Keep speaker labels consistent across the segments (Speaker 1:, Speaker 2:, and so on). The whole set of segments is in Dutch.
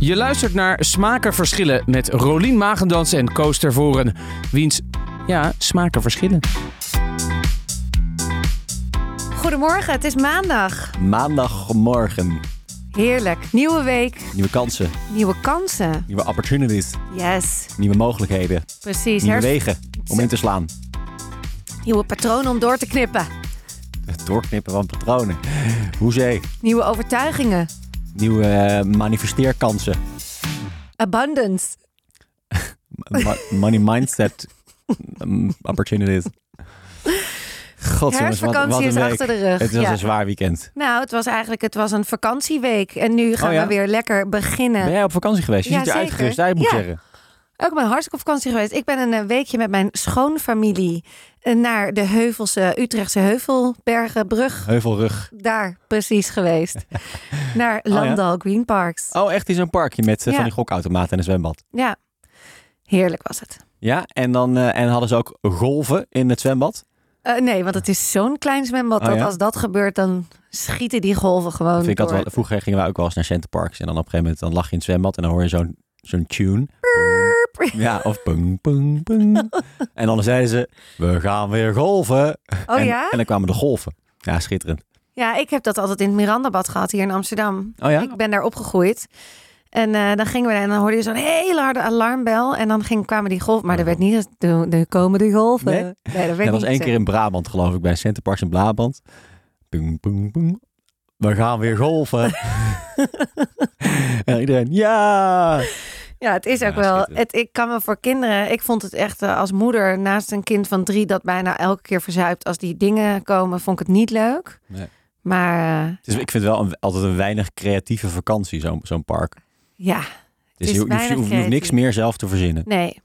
Speaker 1: Je luistert naar Smaken Verschillen met Rolien Magendans en Koos Tervoren. Wiens, ja, smaken verschillen.
Speaker 2: Goedemorgen, het is maandag.
Speaker 3: Maandagmorgen.
Speaker 2: Heerlijk. Nieuwe week,
Speaker 3: Nieuwe kansen,
Speaker 2: nieuwe kansen.
Speaker 3: nieuwe opportunities,
Speaker 2: Yes,
Speaker 3: nieuwe mogelijkheden,
Speaker 2: precies.
Speaker 3: nieuwe
Speaker 2: Herf-
Speaker 3: wegen om in te slaan.
Speaker 2: nieuwe patronen om door te knippen.
Speaker 3: Het doorknippen van patronen. Hoezee.
Speaker 2: Nieuwe overtuigingen.
Speaker 3: Nieuwe eh, manifesteerkansen.
Speaker 2: Abundance.
Speaker 3: Ma- money mindset mm, opportunities. God, jongens, wat, wat
Speaker 2: Herfstvakantie
Speaker 3: een
Speaker 2: is
Speaker 3: week.
Speaker 2: achter de rug.
Speaker 3: Het was
Speaker 2: Ja.
Speaker 3: een zwaar weekend.
Speaker 2: Nou, het was eigenlijk het was een vakantieweek. En nu gaan
Speaker 3: Oh ja?
Speaker 2: we weer lekker beginnen.
Speaker 3: Ben jij op vakantie geweest? Je
Speaker 2: Ja,
Speaker 3: ziet er
Speaker 2: zeker.
Speaker 3: uitgerust uit, moet ik
Speaker 2: Ja.
Speaker 3: zeggen.
Speaker 2: Ook ben hartstikke op vakantie geweest. Ik ben een eh, weekje met mijn schoonfamilie eh, naar de Heuvelse, Utrechtse Heuvelbergenbrug.
Speaker 3: Heuvelrug.
Speaker 2: Daar precies geweest. naar Landal Green Parks.
Speaker 3: Oh, echt in zo'n parkje met eh,
Speaker 2: Ja.
Speaker 3: van die gokautomaten en een zwembad.
Speaker 2: Ja, heerlijk was het.
Speaker 3: Ja, en dan eh, en hadden ze ook golven in het zwembad.
Speaker 2: Eh, nee, want het is zo'n klein zwembad
Speaker 3: Oh,
Speaker 2: dat
Speaker 3: ja?
Speaker 2: als dat gebeurt, dan schieten die golven gewoon
Speaker 3: Vind ik
Speaker 2: door.
Speaker 3: altijd wel, vroeger gingen we ook wel eens naar Centerparks. En dan op een gegeven moment dan lag je in het zwembad en dan hoor je zo'n zo'n tune.
Speaker 2: Purp.
Speaker 3: Ja, of pung, pung, pung. En dan zeiden ze, we gaan weer golven.
Speaker 2: Oh
Speaker 3: en,
Speaker 2: ja?
Speaker 3: en dan kwamen de golven. Ja, schitterend.
Speaker 2: Ja, ik heb dat altijd in het Mirandabad gehad hier in Amsterdam.
Speaker 3: Oh ja?
Speaker 2: Ik ben daar opgegroeid. En eh, dan gingen we daar en dan hoorde je zo'n hele harde alarmbel. En dan ging, kwamen die golven. Maar er werd niet eens, "Doe- er komen die golven.
Speaker 3: Nee?
Speaker 2: dat
Speaker 3: Dat
Speaker 2: werd
Speaker 3: was
Speaker 2: niet eh.
Speaker 3: één
Speaker 2: zo.
Speaker 3: keer in Brabant, geloof ik, bij Centerparks in Brabant. Pung, pung, pung. We gaan weer golven. en iedereen, ja!
Speaker 2: Ja, het is ook
Speaker 3: Ja,
Speaker 2: wel.
Speaker 3: schitterend.
Speaker 2: Het, ik kan me voor kinderen. Ik vond het echt eh, als moeder naast een kind van drie dat bijna elke keer verzuipt als die dingen komen, vond ik het niet leuk.
Speaker 3: Nee.
Speaker 2: Maar eh,
Speaker 3: Dus ik vind wel een- altijd een weinig creatieve vakantie, zo'n zo'n park.
Speaker 2: ja,
Speaker 3: Dus
Speaker 2: is
Speaker 3: je, hoeft- je hoeft- je
Speaker 2: weinig
Speaker 3: hoeft niks
Speaker 2: creatief.
Speaker 3: meer zelf te verzinnen.
Speaker 2: nee.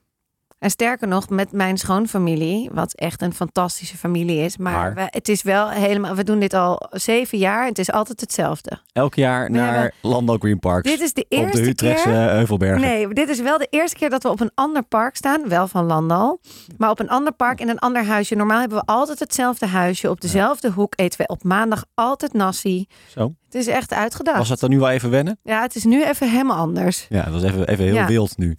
Speaker 2: En sterker nog, met mijn schoonfamilie, wat echt een fantastische familie is. Maar,
Speaker 3: Maar?
Speaker 2: We, het is wel helemaal. We doen dit al zeven jaar. en Het is altijd hetzelfde.
Speaker 3: Elk jaar
Speaker 2: We
Speaker 3: naar Landal Green Parks.
Speaker 2: Dit is de
Speaker 3: op de
Speaker 2: eerste
Speaker 3: Utrechtse
Speaker 2: keer.
Speaker 3: Heuvelbergen.
Speaker 2: Nee, dit is wel de eerste keer dat we op een ander park staan. Wel van Landal. Maar op een ander park in een ander huisje. Normaal hebben we altijd hetzelfde huisje. Op dezelfde hoek eten we op maandag altijd nasi.
Speaker 3: Zo.
Speaker 2: Het is echt uitgedacht.
Speaker 3: Was dat dan nu wel even wennen?
Speaker 2: Ja, het is nu even helemaal anders.
Speaker 3: Ja, het was even, even heel
Speaker 2: Ja.
Speaker 3: wild nu.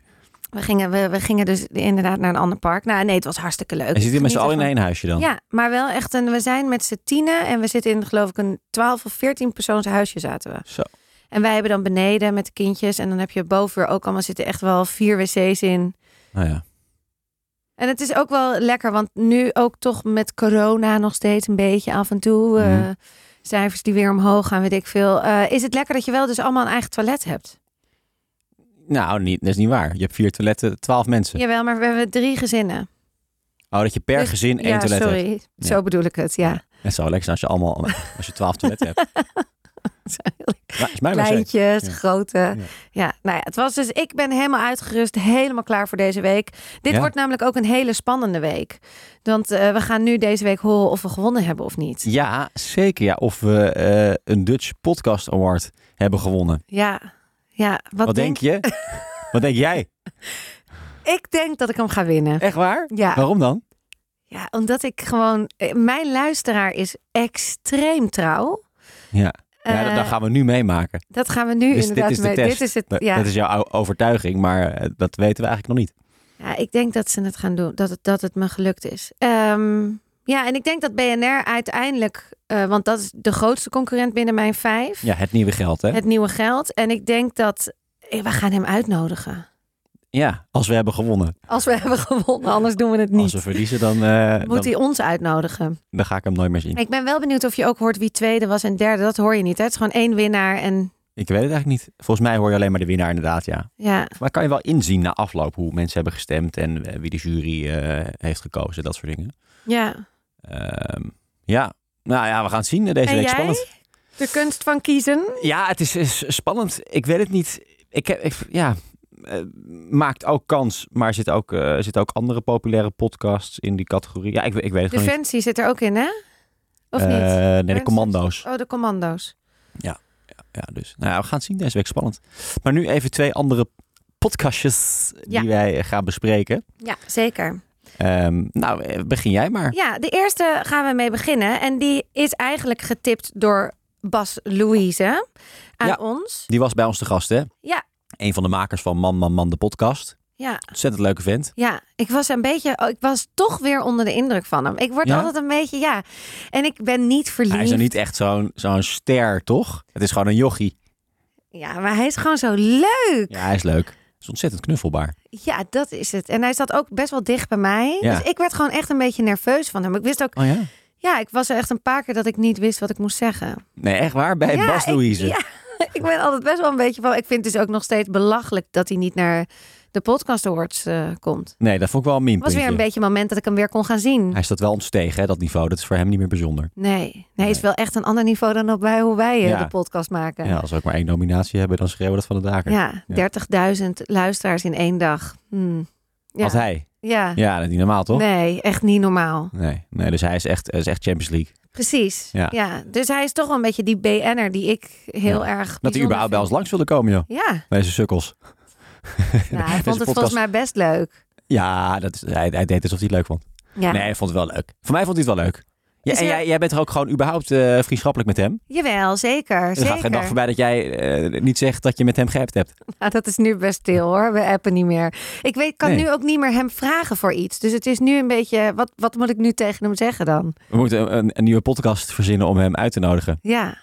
Speaker 2: We gingen, we, we gingen dus inderdaad naar een ander park. Nou, nee, het was hartstikke leuk.
Speaker 3: En zit hier met z'n
Speaker 2: Geniet
Speaker 3: allen in
Speaker 2: ervan.
Speaker 3: één huisje dan?
Speaker 2: Ja, maar wel echt een. We zijn met z'n tienen en we zitten in, geloof ik, een 12 of 14 persoons huisje zaten we.
Speaker 3: Zo.
Speaker 2: En wij hebben dan beneden met de kindjes. En dan heb je boven weer ook allemaal zitten echt wel vier wc's in.
Speaker 3: Nou ja.
Speaker 2: En het is ook wel lekker, want nu ook toch met corona nog steeds een beetje af en toe. eh,
Speaker 3: Mhm.
Speaker 2: cijfers die weer omhoog gaan, weet ik veel. Eh, is het lekker dat je wel dus allemaal een eigen toilet hebt?
Speaker 3: Nou, niet, dat is niet waar. Je hebt vier toiletten, twaalf mensen.
Speaker 2: Jawel, maar we hebben drie gezinnen.
Speaker 3: Oh, dat je per
Speaker 2: Dus-
Speaker 3: gezin één
Speaker 2: ja,
Speaker 3: toilet hebt.
Speaker 2: sorry.
Speaker 3: Ja.
Speaker 2: Zo bedoel ik het, ja.
Speaker 3: Het zou lekker zijn als je allemaal, als je twaalf toiletten hebt. Maar, is mijn wc.
Speaker 2: Kleintjes,
Speaker 3: Ja.
Speaker 2: grote. Ja.
Speaker 3: Ja.
Speaker 2: nou ja, het was dus... Ik ben helemaal uitgerust, helemaal klaar voor deze week. Dit
Speaker 3: Ja?
Speaker 2: wordt namelijk ook een hele spannende week. Want eh, we gaan nu deze week horen of we gewonnen hebben of niet.
Speaker 3: Ja, zeker. Ja. Of we eh, een Dutch Podcast Award hebben gewonnen.
Speaker 2: Ja, ja. Wat,
Speaker 3: Wat, denk
Speaker 2: denk
Speaker 3: je? Wat denk jij?
Speaker 2: Ik denk dat ik hem ga winnen.
Speaker 3: Echt waar?
Speaker 2: Ja.
Speaker 3: Waarom dan?
Speaker 2: Ja, omdat ik gewoon. eh, Mijn luisteraar is extreem trouw.
Speaker 3: Ja, ja
Speaker 2: Eh,
Speaker 3: Nou, dat, dat gaan we nu meemaken.
Speaker 2: dat gaan we nu
Speaker 3: Dus dit
Speaker 2: inderdaad
Speaker 3: is de
Speaker 2: mee.
Speaker 3: test.
Speaker 2: Dit is het.
Speaker 3: Dat-
Speaker 2: Ja.
Speaker 3: Dat is jouw o- overtuiging, maar eh, dat weten we eigenlijk nog niet.
Speaker 2: ja, ik denk dat ze het gaan doen. Dat het, dat het me gelukt is. Ehm, ja, en ik denk dat BNR uiteindelijk. eh, want dat is de grootste concurrent binnen mijn vijf.
Speaker 3: Ja, het nieuwe geld, hè?
Speaker 2: Het nieuwe geld. En ik denk dat. eh, We gaan hem uitnodigen.
Speaker 3: Ja, als we hebben gewonnen.
Speaker 2: Als we hebben gewonnen, anders doen we het niet.
Speaker 3: Als we verliezen, dan, eh,
Speaker 2: Moet
Speaker 3: dan,
Speaker 2: hij ons uitnodigen?
Speaker 3: dan ga ik hem nooit meer zien.
Speaker 2: Ik ben wel benieuwd of je ook hoort wie tweede was en derde. Dat hoor je niet. Hè? Het is gewoon één winnaar. En
Speaker 3: Ik weet het eigenlijk niet. Volgens mij hoor je alleen maar de winnaar inderdaad, ja.
Speaker 2: ja,
Speaker 3: Maar kan je wel inzien na afloop hoe mensen hebben gestemd en eh, wie de jury eh, heeft gekozen, dat soort dingen.
Speaker 2: ja.
Speaker 3: Ehm, ja, nou ja, we gaan het zien eh, deze
Speaker 2: En
Speaker 3: week.
Speaker 2: jij?
Speaker 3: Spannend.
Speaker 2: De kunst van kiezen.
Speaker 3: Ja, het is, is spannend. Ik weet het niet. Ik heb, ik- ja, eh, maakt ook kans, maar zit ook, eh zit ook andere populaire podcasts in die categorie. Ja, ik, weet- ik weet het gewoon niet.
Speaker 2: Defensie zit er ook in, hè? Of
Speaker 3: Eh,
Speaker 2: niet?
Speaker 3: nee, de
Speaker 2: Mensen?
Speaker 3: commando's.
Speaker 2: Oh, de commando's.
Speaker 3: Ja, dus nou ja, we gaan het zien deze week. Spannend. Maar nu even twee andere podcastjes
Speaker 2: Ja.
Speaker 3: die wij eh, gaan bespreken.
Speaker 2: Ja, zeker.
Speaker 3: Ehm, nou, eh, begin jij maar.
Speaker 2: Ja, de eerste gaan we mee beginnen. En die is eigenlijk getipt door Bas Louise aan
Speaker 3: Ja.
Speaker 2: ons.
Speaker 3: Die was bij ons te gast, hè?
Speaker 2: Ja,
Speaker 3: Een van de makers van Man, Man, Man, de podcast.
Speaker 2: Ja.
Speaker 3: Ontzettend leuke vent.
Speaker 2: Ja, ik was een beetje, oh, ik was toch weer onder de indruk van hem. Ik word
Speaker 3: Ja?
Speaker 2: altijd een beetje, ja. En ik ben niet verliefd.
Speaker 3: Hij is nou niet echt zo'n zo'n ster, toch? Het is gewoon een jochie.
Speaker 2: Ja, maar hij is gewoon zo leuk.
Speaker 3: Ja, hij is leuk. Hij is ontzettend knuffelbaar.
Speaker 2: Ja, dat is het. En hij zat ook best wel dicht bij mij.
Speaker 3: Ja.
Speaker 2: Dus ik werd gewoon echt een beetje nerveus van hem. Ik wist ook,
Speaker 3: Oh ja?
Speaker 2: ja, ik was er echt een paar keer dat ik niet wist wat ik moest zeggen.
Speaker 3: Nee, echt waar? Bij
Speaker 2: ja,
Speaker 3: Bas
Speaker 2: ik-
Speaker 3: Louise.
Speaker 2: ja, ik ben altijd best wel een beetje van. Ik vind het dus ook nog steeds belachelijk dat hij niet naar de podcast awards eh, komt.
Speaker 3: Nee, dat vond ik wel een meme.
Speaker 2: Het was weer een beetje een moment dat ik hem weer kon gaan zien.
Speaker 3: Hij staat wel ontstegen, hè, dat niveau. Dat is voor hem niet meer bijzonder.
Speaker 2: Nee, nee, het is wel echt een ander niveau dan op wij, hoe wij eh,
Speaker 3: Ja.
Speaker 2: de podcast maken.
Speaker 3: Ja. als we ook maar één nominatie hebben, dan schreeuwen we dat van de daken.
Speaker 2: Ja, 30.000 luisteraars in één dag. Hm. Ja.
Speaker 3: Als hij.
Speaker 2: ja.
Speaker 3: Ja, dat is niet normaal, toch?
Speaker 2: Nee, echt niet normaal.
Speaker 3: Nee, nee, dus hij is echt, hij is echt Champions League.
Speaker 2: Precies. Ja.
Speaker 3: Ja.
Speaker 2: Dus hij is toch wel een beetje die BN'er die ik heel erg.
Speaker 3: Dat hij
Speaker 2: bijzonder
Speaker 3: überhaupt bij ons langs wilde komen, joh.
Speaker 2: vind. Ja,
Speaker 3: Deze sukkels.
Speaker 2: nou, hij vond
Speaker 3: podcast-
Speaker 2: het volgens mij best leuk.
Speaker 3: Ja, dat is, hij, hij deed alsof hij het leuk vond.
Speaker 2: Ja.
Speaker 3: Nee, hij vond het wel leuk. Voor mij vond hij het wel leuk. Ja,
Speaker 2: Is
Speaker 3: en
Speaker 2: er-
Speaker 3: jij, jij bent er ook gewoon überhaupt eh, vriendschappelijk met hem.
Speaker 2: Jawel, zeker.
Speaker 3: Er gaat
Speaker 2: zeker.
Speaker 3: geen dag voorbij dat jij eh, niet zegt dat je met hem geappt hebt.
Speaker 2: Nou, dat is nu best stil hoor. We appen niet meer. Ik weet, kan
Speaker 3: Nee.
Speaker 2: nu ook niet meer hem vragen voor iets. Dus het is nu een beetje. Wat, wat moet ik nu tegen hem zeggen dan?
Speaker 3: We moeten een- een, een nieuwe podcast verzinnen om hem uit te nodigen.
Speaker 2: Ja.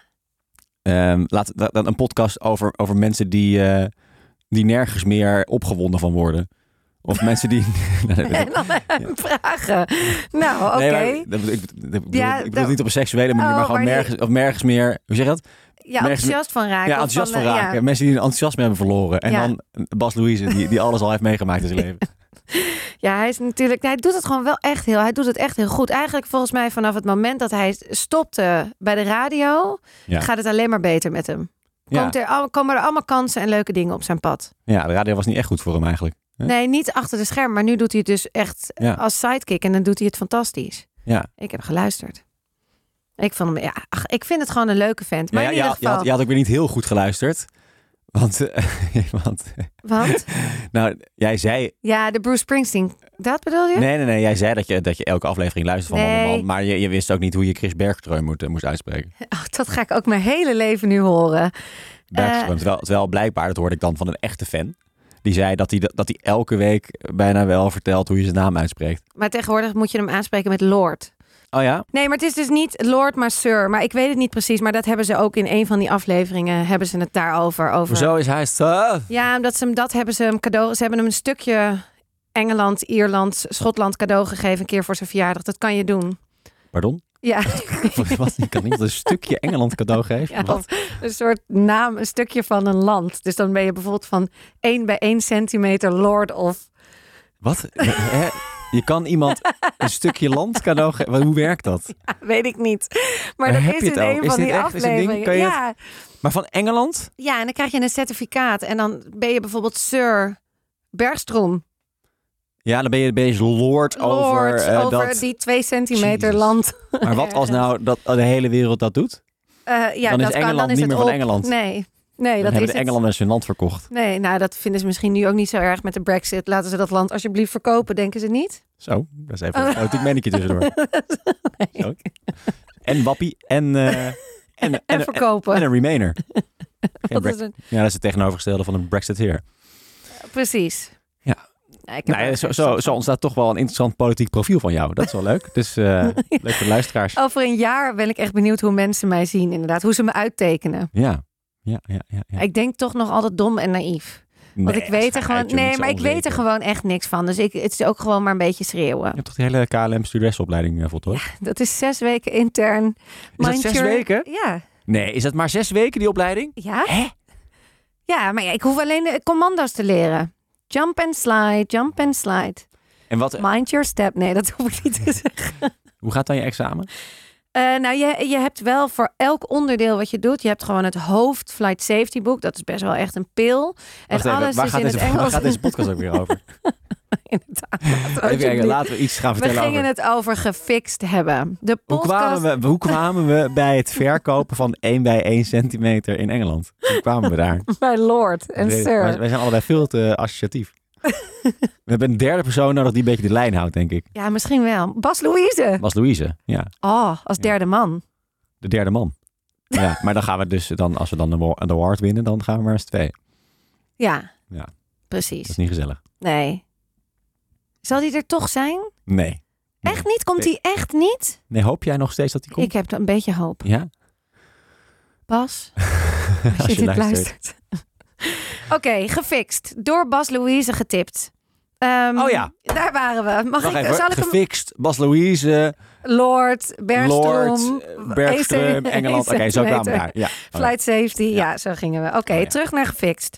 Speaker 3: Ehm, laat, da- dan een podcast over, over mensen die, eh, die nergens meer opgewonden van worden. Of mensen die... nee,
Speaker 2: En dan hem vragen. Nou, oké.
Speaker 3: nee, maar ik, dat- ik- ik bedoel,
Speaker 2: Ja,
Speaker 3: ik bedoel
Speaker 2: dat-
Speaker 3: niet op een seksuele manier,
Speaker 2: Oh,
Speaker 3: maar gewoon
Speaker 2: maar die-
Speaker 3: nergens, of nergens meer... Hoe zeg je dat?
Speaker 2: ja,
Speaker 3: nergens-
Speaker 2: enthousiast van raken.
Speaker 3: Ja,
Speaker 2: of
Speaker 3: enthousiast van,
Speaker 2: eh, ja.
Speaker 3: raken. Mensen die hun enthousiasme hebben verloren. En
Speaker 2: Ja.
Speaker 3: dan Bas Louise, die, die alles al heeft meegemaakt in zijn leven.
Speaker 2: Ja, hij is natuurlijk. Hij doet het gewoon wel echt heel. Hij doet het echt heel goed. Eigenlijk volgens mij vanaf het moment dat hij stopte bij de radio,
Speaker 3: Ja.
Speaker 2: gaat het alleen maar beter met hem.
Speaker 3: Ja.
Speaker 2: Komt er, al- komen er allemaal kansen en leuke dingen op zijn pad.
Speaker 3: ja, de radio was niet echt goed voor hem eigenlijk. Ja.
Speaker 2: Nee, niet achter de scherm, maar nu doet hij het dus echt
Speaker 3: Ja.
Speaker 2: als sidekick en dan doet hij het fantastisch.
Speaker 3: Ja.
Speaker 2: Ik heb geluisterd. Ik vond hem, ja, ach, ik vind het gewoon een leuke vent. Maar
Speaker 3: ja,
Speaker 2: in
Speaker 3: je,
Speaker 2: ieder
Speaker 3: had, je,
Speaker 2: geval,
Speaker 3: had, je had ook weer niet heel goed geluisterd. Want, eh, want
Speaker 2: want
Speaker 3: nou, jij zei...
Speaker 2: ja, de Bruce Springsteen, dat bedoel je?
Speaker 3: Nee, nee, nee. Jij zei dat je, dat je elke aflevering luisterde van
Speaker 2: Nee.
Speaker 3: Man, Man. Maar je, je wist ook niet hoe je Chris Bergström moet, eh, moest uitspreken.
Speaker 2: Oh, dat ga ik ook mijn hele leven nu horen.
Speaker 3: Bergström. terwijl, terwijl blijkbaar, dat hoorde ik dan van een echte fan. Die zei dat hij, dat, dat hij elke week bijna wel vertelt hoe je zijn naam uitspreekt.
Speaker 2: Maar tegenwoordig moet je hem aanspreken met Lord.
Speaker 3: Oh ja?
Speaker 2: Nee, maar het is dus niet Lord, maar Sir. Maar ik weet het niet precies. Maar dat hebben ze ook in een van die afleveringen. Hebben ze het daarover. Over.
Speaker 3: Hoezo is hij... zo-
Speaker 2: Ja, omdat ze hem dat hebben ze hem cadeau. Ze hebben hem een stukje Engeland, Ierland, Schotland cadeau gegeven. Een keer voor zijn verjaardag. Dat kan je doen.
Speaker 3: Pardon?
Speaker 2: Ja,
Speaker 3: Wat? Ik kan iemand een stukje Engeland cadeau geven?
Speaker 2: ja
Speaker 3: Wat?
Speaker 2: een soort naam, een stukje van een land. Dus dan ben je bijvoorbeeld van 1 bij 1 centimeter Lord of.
Speaker 3: Wat? Hè? Je kan iemand een stukje land cadeau geven. Maar Hoe werkt dat?
Speaker 2: Weet ik niet. Maar
Speaker 3: Waar
Speaker 2: dat
Speaker 3: heb
Speaker 2: is
Speaker 3: je het
Speaker 2: in
Speaker 3: over?
Speaker 2: een
Speaker 3: Is
Speaker 2: van
Speaker 3: dit
Speaker 2: die
Speaker 3: echt? Is dit ding?
Speaker 2: afleveringen.
Speaker 3: Kan je het-
Speaker 2: ja.
Speaker 3: Maar van Engeland?
Speaker 2: Ja, en dan krijg je een certificaat. En dan ben je bijvoorbeeld Sir Bergstrom.
Speaker 3: Ja, dan ben je, ben je lord, over,
Speaker 2: Lord,
Speaker 3: eh,
Speaker 2: over
Speaker 3: dat.
Speaker 2: die twee centimeter
Speaker 3: Jezus.
Speaker 2: land.
Speaker 3: Maar wat als nou dat de hele wereld dat doet?
Speaker 2: Eh, ja,
Speaker 3: Dan is
Speaker 2: dat kan,
Speaker 3: Engeland
Speaker 2: dan is
Speaker 3: niet
Speaker 2: het
Speaker 3: meer van
Speaker 2: op.
Speaker 3: Engeland.
Speaker 2: Nee, nee
Speaker 3: dan
Speaker 2: dat
Speaker 3: hebben
Speaker 2: is
Speaker 3: de
Speaker 2: het.
Speaker 3: Engelanders hun land verkocht.
Speaker 2: Nee, nou dat vinden ze misschien nu ook niet zo erg met de brexit. Laten ze dat land alsjeblieft verkopen, denken ze niet?
Speaker 3: Zo, dat is even een politiek mannetje tussendoor.
Speaker 2: Nee.
Speaker 3: Zo. En wappie en, eh, en, en,
Speaker 2: En
Speaker 3: en,
Speaker 2: verkopen.
Speaker 3: en een remainer. Geen
Speaker 2: dat is
Speaker 3: Brexit.
Speaker 2: een-
Speaker 3: Ja, dat is het tegenovergestelde van een brexiteer.
Speaker 2: precies.
Speaker 3: Ja.
Speaker 2: Nou, ik heb
Speaker 3: Nou, ja,
Speaker 2: ook
Speaker 3: zo,
Speaker 2: geen
Speaker 3: zo,
Speaker 2: verstand
Speaker 3: zo
Speaker 2: van.
Speaker 3: ontstaat toch wel een interessant politiek profiel van jou. Dat is wel leuk. Dus eh, leuk voor de luisteraars.
Speaker 2: Over een jaar ben ik echt benieuwd hoe mensen mij zien, inderdaad. Hoe ze me uittekenen.
Speaker 3: Ja, ja, ja. ja, ja.
Speaker 2: Ik denk toch nog altijd dom en naïef. Want
Speaker 3: Nee,
Speaker 2: ik weet er
Speaker 3: schijt,
Speaker 2: gewoon.
Speaker 3: joh, niet
Speaker 2: Nee,
Speaker 3: zo
Speaker 2: maar ik weet er
Speaker 3: onzeker.
Speaker 2: gewoon echt niks van. Dus ik, het is ook gewoon maar een beetje schreeuwen.
Speaker 3: Je hebt toch die hele KLM stuuresopleiding eh, voltooid?
Speaker 2: Dat is zes weken intern.
Speaker 3: dat
Speaker 2: Mind
Speaker 3: zes
Speaker 2: your-
Speaker 3: weken?
Speaker 2: Ja.
Speaker 3: Nee, is dat maar zes weken die opleiding?
Speaker 2: Ja? Ja, maar ja, ik hoef alleen de commando's te leren. Jump and slide, jump and slide.
Speaker 3: En wat,
Speaker 2: Mind your step. Nee, dat hoef ik niet te zeggen.
Speaker 3: hoe gaat dan je examen?
Speaker 2: Eh, nou, je, je hebt wel voor elk onderdeel wat je doet. Je hebt gewoon het hoofd Flight Safety Book. Dat is best wel echt een pil. En
Speaker 3: Wacht even,
Speaker 2: alles
Speaker 3: waar,
Speaker 2: is
Speaker 3: gaat
Speaker 2: in
Speaker 3: deze,
Speaker 2: het
Speaker 3: waar
Speaker 2: Engels.
Speaker 3: gaat deze podcast ook weer over?
Speaker 2: Inderdaad.
Speaker 3: Even kijken,
Speaker 2: Alsjeblieft.
Speaker 3: laten we iets gaan
Speaker 2: We
Speaker 3: vertellen
Speaker 2: gingen
Speaker 3: over...
Speaker 2: het over gefixt hebben. De
Speaker 3: Hoe
Speaker 2: podcast...
Speaker 3: kwamen, we, hoe kwamen we bij het verkopen van 1 bij 1 centimeter in Engeland? Hoe kwamen we daar?
Speaker 2: Bij Lord en
Speaker 3: Wij-
Speaker 2: Sir.
Speaker 3: Wij, wij zijn allebei veel te associatief. we hebben een derde persoon nodig die een beetje de lijn houdt, denk ik.
Speaker 2: Ja, misschien wel. Bas Louise.
Speaker 3: Was Louise, ja.
Speaker 2: Oh, als derde man.
Speaker 3: De derde man. Ja, maar dan gaan we dus, dan, als we dan de wa- de award winnen, dan gaan we maar eens twee.
Speaker 2: Ja,
Speaker 3: Ja.
Speaker 2: precies.
Speaker 3: Dat is niet gezellig.
Speaker 2: Nee. Zal die er toch zijn?
Speaker 3: Nee.
Speaker 2: Echt niet? Komt die echt niet?
Speaker 3: Nee, hoop jij nog steeds dat die komt?
Speaker 2: Ik heb een beetje hoop.
Speaker 3: Ja?
Speaker 2: Bas, als je dit luistert. Oké, gefixt. Door Bas Louise getipt. Ehm,
Speaker 3: Oh ja.
Speaker 2: Daar waren we. Mag
Speaker 3: Wacht
Speaker 2: ik,
Speaker 3: even,
Speaker 2: zal ik hem...
Speaker 3: gefixt. Bas Louise,
Speaker 2: Lord, Bergstrom.
Speaker 3: Lord, eh, Bergström, Engeland. Oké, zo kwamen we daar. Oh Ja.
Speaker 2: Flight safety, ja,
Speaker 3: Ja.
Speaker 2: zo gingen we. Oké,
Speaker 3: Oh ja.
Speaker 2: terug naar gefixt.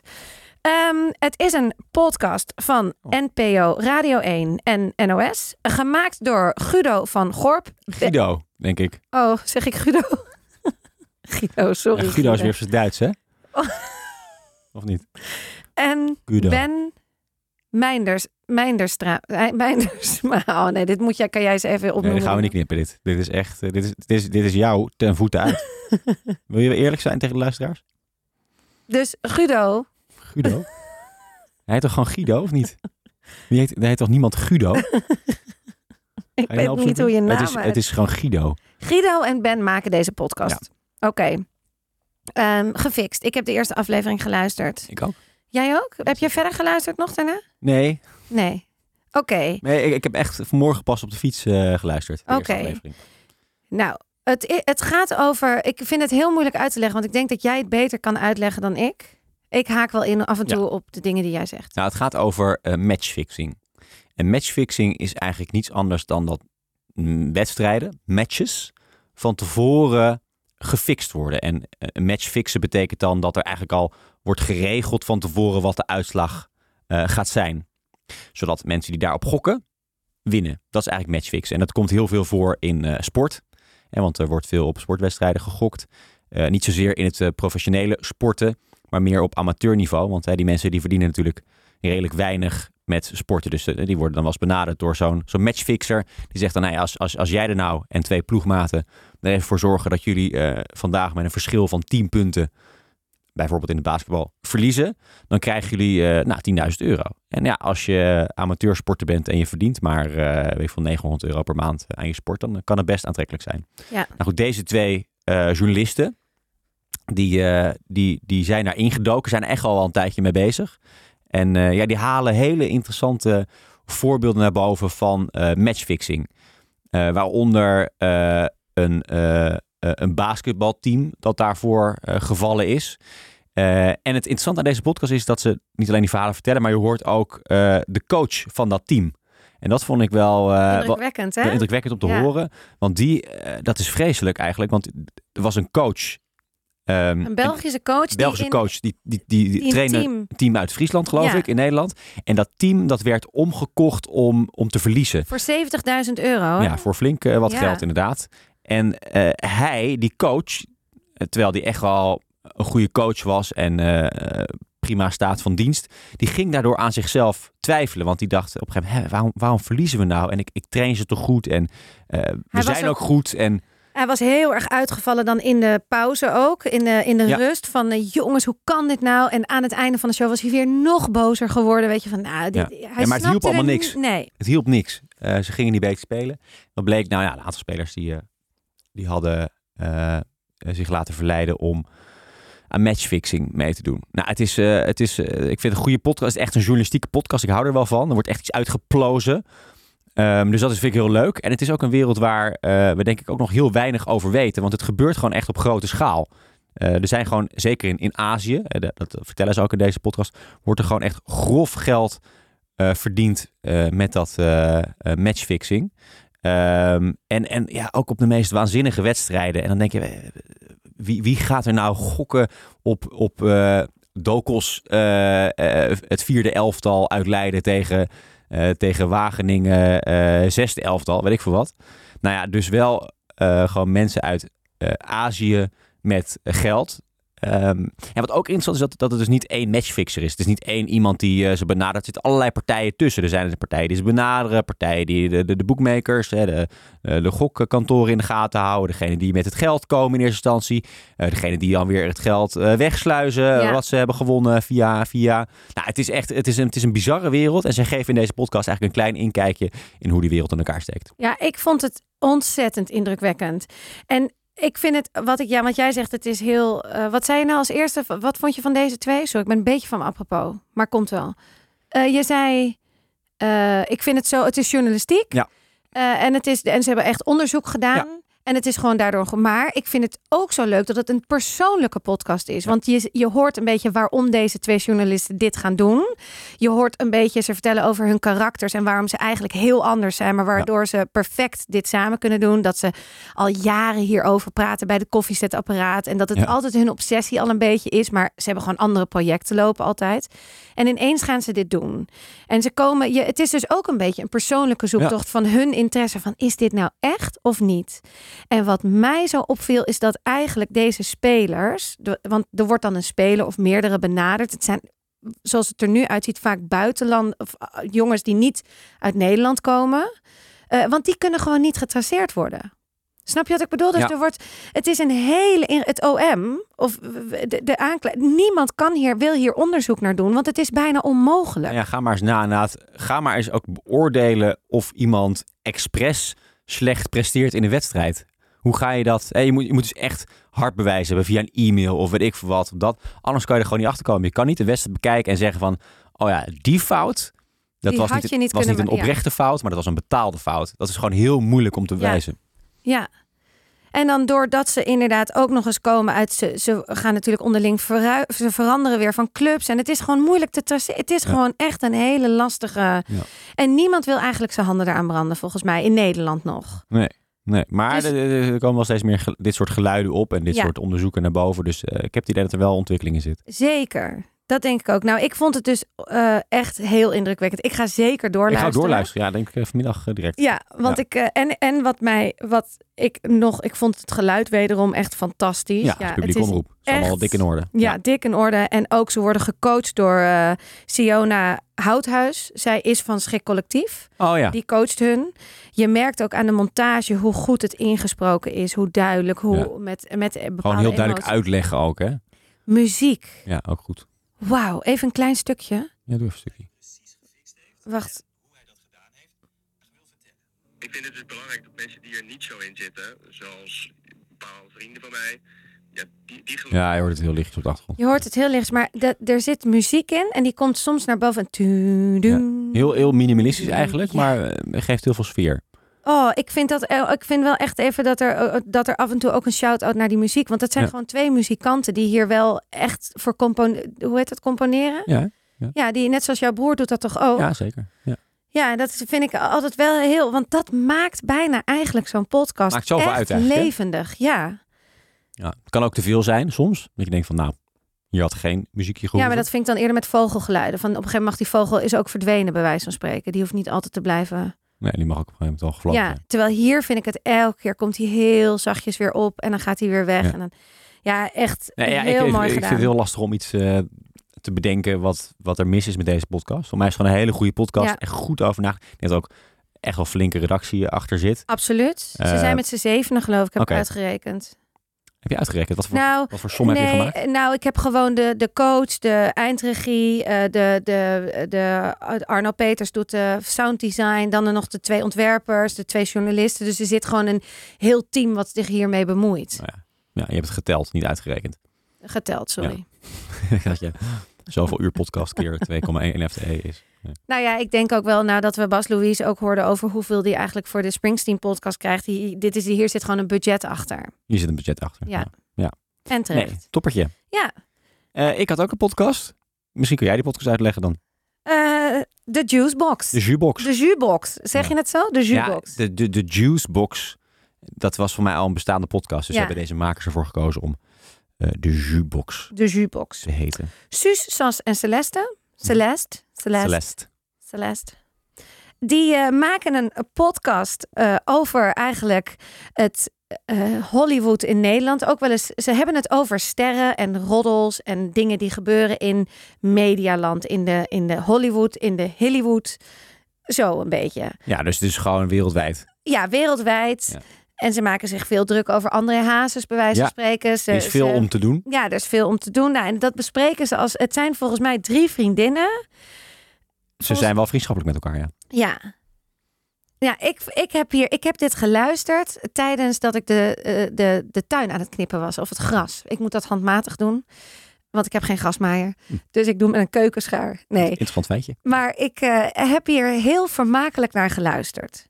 Speaker 2: Ehm, het is een podcast van
Speaker 3: Oh.
Speaker 2: NPO Radio 1 en NOS. Gemaakt door Guido van Gorp. Be-
Speaker 3: Guido, denk ik.
Speaker 2: Oh, zeg ik Guido? Guido, sorry.
Speaker 3: Ja, Guido is weer voor Duits, hè?
Speaker 2: Oh.
Speaker 3: Of niet?
Speaker 2: En
Speaker 3: Guido.
Speaker 2: Ben Meinders, Meinderstra, eh, Meinders. Maar oh nee, dit moet jij, kan jij eens even opnoemen.
Speaker 3: Nee, dat gaan we niet knippen, dit. Dit is echt... eh, Dit is, dit is, dit is jou ten voeten uit. Wil je eerlijk zijn tegen de luisteraars?
Speaker 2: Dus Guido,
Speaker 3: Guido? Hij heet toch gewoon Guido, of niet? Wie heet, hij heet toch niemand Guido? Ga je
Speaker 2: ik
Speaker 3: nou
Speaker 2: weet niet
Speaker 3: opzoeken?
Speaker 2: hoe je naam
Speaker 3: het is, het is gewoon Guido.
Speaker 2: Guido en Ben maken deze podcast. Oké. Ehm, gefixt. Ik heb de eerste aflevering geluisterd.
Speaker 3: Ik ook.
Speaker 2: Jij ook? Heb je verder geluisterd nog daarna?
Speaker 3: Nee,
Speaker 2: Nee. Oké.
Speaker 3: nee ik, ik heb echt vanmorgen pas op de fiets eh, geluisterd. de eerste
Speaker 2: Oké.
Speaker 3: aflevering.
Speaker 2: Nou, het, i- het gaat over. Ik vind het heel moeilijk uit te leggen, want ik denk dat jij het beter kan uitleggen dan ik. Ik haak wel in af en toe op de dingen die jij zegt.
Speaker 3: Nou, het gaat over eh, matchfixing. En matchfixing is eigenlijk niets anders dan dat mm, wedstrijden, matches, van tevoren gefixt worden. En eh, een match fixen betekent dan dat er eigenlijk al wordt geregeld van tevoren wat de uitslag eh, gaat zijn. Zodat mensen die daarop gokken, winnen. Dat is eigenlijk matchfixen. En dat komt heel veel voor in eh, sport. En want er wordt veel op sportwedstrijden gegokt. Eh, niet zozeer in het eh, professionele sporten, maar meer op amateurniveau. Want hè, die mensen die verdienen natuurlijk redelijk weinig met sporten. Dus eh, die worden dan wel eens benaderd door zo'n zo'n matchfixer. Die zegt dan, nou ja, als, als, als jij er nou en twee ploegmaten er even voor zorgen dat jullie eh, vandaag met een verschil van 10 punten, bijvoorbeeld in het basketbal, verliezen, dan krijgen jullie eh nou, 10.000 euro. En ja, als je amateursporter bent en je verdient maar eh, weet ik veel, 900 euro per maand aan je sport, dan kan het best aantrekkelijk zijn.
Speaker 2: Ja.
Speaker 3: Nou goed, deze twee eh, journalisten, die, eh, die, die zijn daar ingedoken, zijn er echt al een tijdje mee bezig. En eh, ja, die halen hele interessante voorbeelden naar boven van eh, matchfixing. Eh, waaronder eh, een, eh, eh, een basketbalteam dat daarvoor eh, gevallen is. Eh, en het interessante aan deze podcast is dat ze niet alleen die verhalen vertellen, maar je hoort ook eh, de coach van dat team. En dat vond ik wel, eh, wel,
Speaker 2: Indrukwekkend, hè?
Speaker 3: wel indrukwekkend om te
Speaker 2: Ja.
Speaker 3: horen. Want die, eh, dat is vreselijk eigenlijk. Want er was een coach. ehm,
Speaker 2: Een Belgische coach.
Speaker 3: een Belgische
Speaker 2: die in,
Speaker 3: coach. Die, die, die,
Speaker 2: die
Speaker 3: die
Speaker 2: een
Speaker 3: trainde
Speaker 2: team
Speaker 3: een team uit Friesland, geloof
Speaker 2: Ja.
Speaker 3: ik, in Nederland. En dat team dat werd omgekocht om, om te verliezen.
Speaker 2: voor 70.000 euro.
Speaker 3: Ja, voor flink eh, wat
Speaker 2: Ja.
Speaker 3: geld inderdaad. En eh, hij, die coach, eh, terwijl die echt wel een goede coach was en eh, eh, prima staat van dienst, die ging daardoor aan zichzelf twijfelen. Want die dacht op een gegeven moment, "Hè, waarom, waarom verliezen we nou? En ik, ik train ze toch goed en eh, we
Speaker 2: was
Speaker 3: zijn
Speaker 2: ook-
Speaker 3: ook goed. En
Speaker 2: Hij was heel erg uitgevallen dan in de pauze ook. In de, in de
Speaker 3: Ja.
Speaker 2: rust van eh, jongens, hoe kan dit nou? En aan het einde van de show was hij weer nog bozer geworden. Weet je, van nou, dit, hij
Speaker 3: het hielp
Speaker 2: snapte er
Speaker 3: allemaal
Speaker 2: niet-
Speaker 3: niks.
Speaker 2: Nee,
Speaker 3: Het hielp niks. Eh, ze gingen niet beter spelen. Wat bleek? Nou ja, een aantal spelers die, eh, die hadden eh, eh, zich laten verleiden om aan matchfixing mee te doen. Nou, het is, eh, het is, eh, ik vind het een goede podcast. Het is echt een journalistieke podcast. Ik hou er wel van. Er wordt echt iets uitgeplozen. Ehm, dus dat is, vind ik heel leuk. En het is ook een wereld waar eh, we denk ik ook nog heel weinig over weten. Want het gebeurt gewoon echt op grote schaal. Eh, er zijn gewoon, zeker in, in Azië, eh, dat, dat vertellen ze ook in deze podcast, wordt er gewoon echt grof geld eh, verdiend eh, met dat eh, eh, matchfixing. Ehm, en, en ja, ook op de meest waanzinnige wedstrijden. En dan denk je, eh, wie, wie gaat er nou gokken op, op eh, Dokos, eh, eh, het vierde elftal uit Leiden tegen, eh, tegen Wageningen, eh, zesde elftal, weet ik veel wat. Nou ja, dus wel eh, gewoon mensen uit eh, Azië met eh, geld. Ehm, en wat ook interessant is, dat, dat het dus niet één matchfixer is. Het is niet één iemand die eh, ze benadert. Er zitten allerlei partijen tussen. Er zijn de partijen die ze benaderen, partijen die de, de, de boekmakers, hè, de, eh, de gokkantoren in de gaten houden. Degene die met het geld komen in eerste instantie. Eh, degene die dan weer het geld eh, wegsluizen,
Speaker 2: Ja.
Speaker 3: wat ze hebben gewonnen via, via. Nou, het is echt het is een, het is een bizarre wereld. En zij geven in deze podcast eigenlijk een klein inkijkje in hoe die wereld in elkaar steekt.
Speaker 2: ja, ik vond het ontzettend indrukwekkend. En ik vind het, wat ik, ja, want jij zegt, het is heel. eh, wat zei je nou als eerste? V- Wat vond je van deze twee? Zo, ik ben een beetje van me apropos, maar komt wel. Eh, je zei, eh, ik vind het zo, het is journalistiek.
Speaker 3: Ja.
Speaker 2: Eh, en, het is, en ze hebben echt onderzoek gedaan. En het is gewoon daardoor. ge- Maar ik vind het ook zo leuk dat het een persoonlijke podcast is. Want je, je hoort een beetje waarom deze twee journalisten dit gaan doen. Je hoort een beetje ze vertellen over hun karakters en waarom ze eigenlijk heel anders zijn. Maar waardoor ze perfect dit samen kunnen doen. Dat ze al jaren hierover praten bij de koffiezetapparaat. En dat het
Speaker 3: Ja.
Speaker 2: altijd hun obsessie al een beetje is. Maar ze hebben gewoon andere projecten lopen altijd. En ineens gaan ze dit doen. En ze komen. Je, het is dus ook een beetje een persoonlijke zoektocht van hun interesse. Van is dit nou echt of niet? En wat mij zo opviel is dat eigenlijk deze spelers. de- want er wordt dan een speler of meerdere benaderd. Het zijn zoals het er nu uitziet, vaak buitenland of eh, jongens die niet uit Nederland komen. Eh, want die kunnen gewoon niet getraceerd worden. Snap je wat ik bedoel? Dus
Speaker 3: Ja.
Speaker 2: er wordt, het is een hele, in- het OM of eh, de, de aankla- niemand kan hier, wil hier onderzoek naar doen, want het is bijna onmogelijk.
Speaker 3: Nou ja, ga maar eens na, Naat. Ga maar eens ook beoordelen of iemand expres slecht presteert in een wedstrijd. Hoe ga je dat? Hé, je, moet, je moet dus echt hard bewijzen hebben via een e-mail of weet ik veel wat. Dat. Anders kan je er gewoon niet achter komen. Je kan niet de wedstrijd bekijken en zeggen van, oh ja, die fout. Dat
Speaker 2: Die
Speaker 3: was
Speaker 2: had
Speaker 3: niet,
Speaker 2: je niet
Speaker 3: was
Speaker 2: kunnen
Speaker 3: niet een
Speaker 2: ma- ja.
Speaker 3: oprechte fout, maar dat was een betaalde fout. Dat is gewoon heel moeilijk om te
Speaker 2: Ja.
Speaker 3: bewijzen.
Speaker 2: Ja. En dan doordat ze inderdaad ook nog eens komen uit... Ze, ze gaan natuurlijk onderling verru- ze veranderen weer van clubs. En het is gewoon moeilijk te traceren. Het is
Speaker 3: Ja.
Speaker 2: gewoon echt een hele lastige... En niemand wil eigenlijk zijn handen eraan branden, volgens mij. In Nederland nog.
Speaker 3: Nee, maar
Speaker 2: Dus-
Speaker 3: er- er er komen wel steeds meer ge- dit soort geluiden op en dit
Speaker 2: Ja.
Speaker 3: soort onderzoeken naar boven. Dus eh, ik heb het idee dat er wel ontwikkeling in zit.
Speaker 2: Zeker. Dat denk ik ook. Nou, ik vond het dus eh, echt heel indrukwekkend. Ik ga zeker
Speaker 3: Ik
Speaker 2: doorluisteren.
Speaker 3: ga ook doorluisteren. Ja, denk ik eh, vanmiddag eh, direct.
Speaker 2: Ja, want
Speaker 3: Ja.
Speaker 2: ik... eh, en, en wat mij... Wat ik nog... Ik vond het geluid wederom echt fantastisch.
Speaker 3: Ja, het is publiek
Speaker 2: het is
Speaker 3: omroep. Het is allemaal
Speaker 2: echt-
Speaker 3: dik in orde.
Speaker 2: Ja, dik in orde. En ook ze worden gecoacht door eh, Siona Houthuis. Zij is van Schik Collectief.
Speaker 3: Oh ja.
Speaker 2: Die coacht hun. Je merkt ook aan de montage hoe goed het ingesproken is. Hoe duidelijk, hoe
Speaker 3: Ja.
Speaker 2: met, met bepaalde
Speaker 3: Gewoon heel duidelijk
Speaker 2: emoties.
Speaker 3: uitleggen ook, hè?
Speaker 2: Muziek.
Speaker 3: Ja, ook goed.
Speaker 2: Wauw, even een klein stukje.
Speaker 3: Ja, doe even een stukje.
Speaker 2: Wacht.
Speaker 4: Ik vind het dus belangrijk dat mensen die er niet zo in zitten, zoals bepaalde vrienden van mij, ja, die, die geloven.
Speaker 3: Ja, je hoort het heel lichtjes op de achtergrond.
Speaker 2: Je hoort het heel licht, maar dat- er zit muziek in en die komt soms naar boven. Tudu.
Speaker 3: Heel, heel minimalistisch eigenlijk,
Speaker 2: Ja.
Speaker 3: maar eh, geeft heel veel sfeer.
Speaker 2: Oh, ik vind, dat, eh, ik vind wel echt even dat er, eh, dat er af en toe ook een shout-out naar die muziek. Want dat zijn
Speaker 3: Ja.
Speaker 2: gewoon twee muzikanten die hier wel echt voor compon hoe heet dat, componeren.
Speaker 3: Ja, hè?
Speaker 2: Ja, die net zoals jouw broer doet dat toch ook.
Speaker 3: ja
Speaker 2: Ja,
Speaker 3: zeker. Ja.
Speaker 2: dat vind ik altijd wel heel. Want dat maakt bijna eigenlijk zo'n podcast
Speaker 3: Maakt zoveel
Speaker 2: echt
Speaker 3: uit eigenlijk, hè?
Speaker 2: levendig. Ja.
Speaker 3: Ja, het kan ook te veel zijn soms. Dat je denkt van, nou, je had geen muziekje gehoord.
Speaker 2: ja, maar dat vind ik dan eerder met vogelgeluiden. Van op een gegeven moment mag die vogel is ook verdwenen, bij wijze van spreken. Die hoeft niet altijd te blijven.
Speaker 3: Nee, die mag ook op een gegeven moment al gevlogen
Speaker 2: Ja,
Speaker 3: zijn.
Speaker 2: terwijl hier vind ik het elke keer komt hij heel zachtjes weer op en dan gaat hij weer weg.
Speaker 3: Ja.
Speaker 2: En dan, ja, echt
Speaker 3: Nee, ja,
Speaker 2: heel
Speaker 3: ik,
Speaker 2: mooi
Speaker 3: ik, ik
Speaker 2: gedaan.
Speaker 3: vind het heel lastig om iets eh, te bedenken wat, wat er mis is met deze podcast. Voor mij is het gewoon een hele goede podcast.
Speaker 2: Ja.
Speaker 3: Echt goed over nagedacht. Ik denk dat ook echt wel flinke redactie achter zit.
Speaker 2: Absoluut. Ze
Speaker 3: Eh,
Speaker 2: zijn met z'n zevenen, geloof ik, heb
Speaker 3: oké.
Speaker 2: ik uitgerekend.
Speaker 3: Heb je uitgerekend? Wat voor,
Speaker 2: Nou,
Speaker 3: wat voor som heb je
Speaker 2: nee,
Speaker 3: gemaakt?
Speaker 2: nou, ik heb gewoon de, de coach, de eindregie, eh, de, de, de Arno Peters doet de sound design, dan er nog de twee ontwerpers, de twee journalisten. Dus er zit gewoon een heel team wat zich hiermee bemoeit.
Speaker 3: Nou Ja, je hebt het geteld, niet uitgerekend.
Speaker 2: Geteld, sorry.
Speaker 3: dat je zoveel uur podcast keer 2,1 FTE E is.
Speaker 2: Nou ja, ik denk ook wel nadat we Bas Louise ook hoorden over hoeveel die eigenlijk voor de Springsteen podcast krijgt. Die, dit is, hier zit gewoon een budget achter.
Speaker 3: Hier zit een budget achter.
Speaker 2: Ja, En terecht.
Speaker 3: Nee, toppertje.
Speaker 2: Ja.
Speaker 3: Eh, ik had ook een podcast. Misschien kun jij die podcast uitleggen dan.
Speaker 2: Eh, de juicebox.
Speaker 3: De Jubox.
Speaker 2: De juicebox. Zeg
Speaker 3: Ja.
Speaker 2: je het zo? De juicebox.
Speaker 3: Ja, de, de, de Juicebox. Dat was voor mij al een bestaande podcast. Dus
Speaker 2: Ja.
Speaker 3: hebben deze makers ervoor gekozen om eh, de Jubox
Speaker 2: De juicebox.
Speaker 3: te heten.
Speaker 2: Suus, Sas en Celeste. Celeste. Celeste.
Speaker 3: Celeste.
Speaker 2: Celeste. Die eh, maken een podcast eh, over eigenlijk het eh, Hollywood in Nederland. Ook wel eens, ze hebben het over sterren en roddels en dingen die gebeuren in Medialand, in de, in de Hollywood, in de Hollywood. Zo een beetje.
Speaker 3: Ja, dus het is gewoon wereldwijd.
Speaker 2: Ja, wereldwijd.
Speaker 3: Ja.
Speaker 2: En ze maken zich veel druk over André Hazes, bij wijze
Speaker 3: Ja,
Speaker 2: van spreken. Ze,
Speaker 3: Er is veel
Speaker 2: ze-
Speaker 3: om te doen.
Speaker 2: ja, er is veel om te doen. Nou, en dat bespreken ze als. Het zijn volgens mij drie vriendinnen.
Speaker 3: Ze zijn wel vriendschappelijk met elkaar, ja.
Speaker 2: Ja. Ja, ik, ik, heb hier, ik heb dit geluisterd tijdens dat ik de, eh, de, de tuin aan het knippen was. Of het gras. Ik moet dat handmatig doen. Want ik heb geen grasmaaier.
Speaker 3: Hm.
Speaker 2: Dus ik doe met een keukenschaar. Nee.
Speaker 3: Interessant feitje.
Speaker 2: Maar ik eh, heb hier heel vermakelijk naar geluisterd.